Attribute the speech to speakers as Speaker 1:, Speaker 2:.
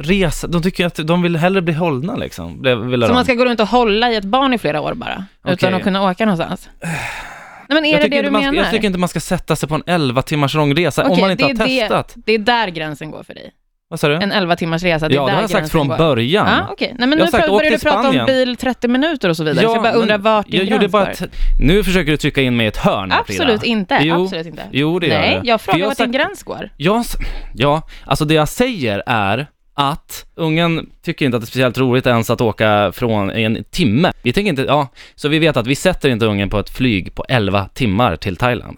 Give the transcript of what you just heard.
Speaker 1: resa, de tycker att de vill hellre bli hållna liksom. Det vill
Speaker 2: Så
Speaker 1: de.
Speaker 2: man ska gå runt och hålla i ett barn i flera år bara, utan
Speaker 1: Okej.
Speaker 2: att kunna åka någonstans? Nej, men är
Speaker 1: jag,
Speaker 2: det
Speaker 1: tycker
Speaker 2: det
Speaker 1: inte
Speaker 2: du
Speaker 1: man, ska-
Speaker 2: menar?
Speaker 1: jag tycker inte man ska sätta sig på en 11 timmars lång resa om
Speaker 2: Okej,
Speaker 1: man inte
Speaker 2: det
Speaker 1: har
Speaker 2: är det-
Speaker 1: testat.
Speaker 2: Det är där gränsen går för dig.
Speaker 1: Vad sa du?
Speaker 2: En 11 timmars resa, det är
Speaker 1: ja,
Speaker 2: där
Speaker 1: det har jag sagt
Speaker 2: gränsen
Speaker 1: från
Speaker 2: går.
Speaker 1: början.
Speaker 2: Ja, okej. Nej, men
Speaker 1: Jag har
Speaker 2: nu
Speaker 1: sagt,
Speaker 2: pra-
Speaker 1: åk
Speaker 2: börjar du
Speaker 1: till
Speaker 2: prata om
Speaker 1: Spanien.
Speaker 2: bil 30 minuter och så vidare, så jag bara
Speaker 1: men
Speaker 2: undrar vart din
Speaker 1: jag gjorde
Speaker 2: gräns
Speaker 1: bara
Speaker 2: går.
Speaker 1: ett, Nu försöker du trycka in mig i ett hörn, Frida.
Speaker 2: Absolut inte,
Speaker 1: Jo,
Speaker 2: absolut inte.
Speaker 1: Jo, det gör
Speaker 2: Nej,
Speaker 1: du.
Speaker 2: jag
Speaker 1: För
Speaker 2: frågar vart
Speaker 1: har
Speaker 2: din gräns går.
Speaker 1: Jag, s- ja, alltså det jag säger är att ungen tycker inte att det är speciellt roligt ens att åka från en timme. Vi tänker inte, ja, så vi vet att vi sätter inte ungen på ett flyg på 11 timmar till Thailand.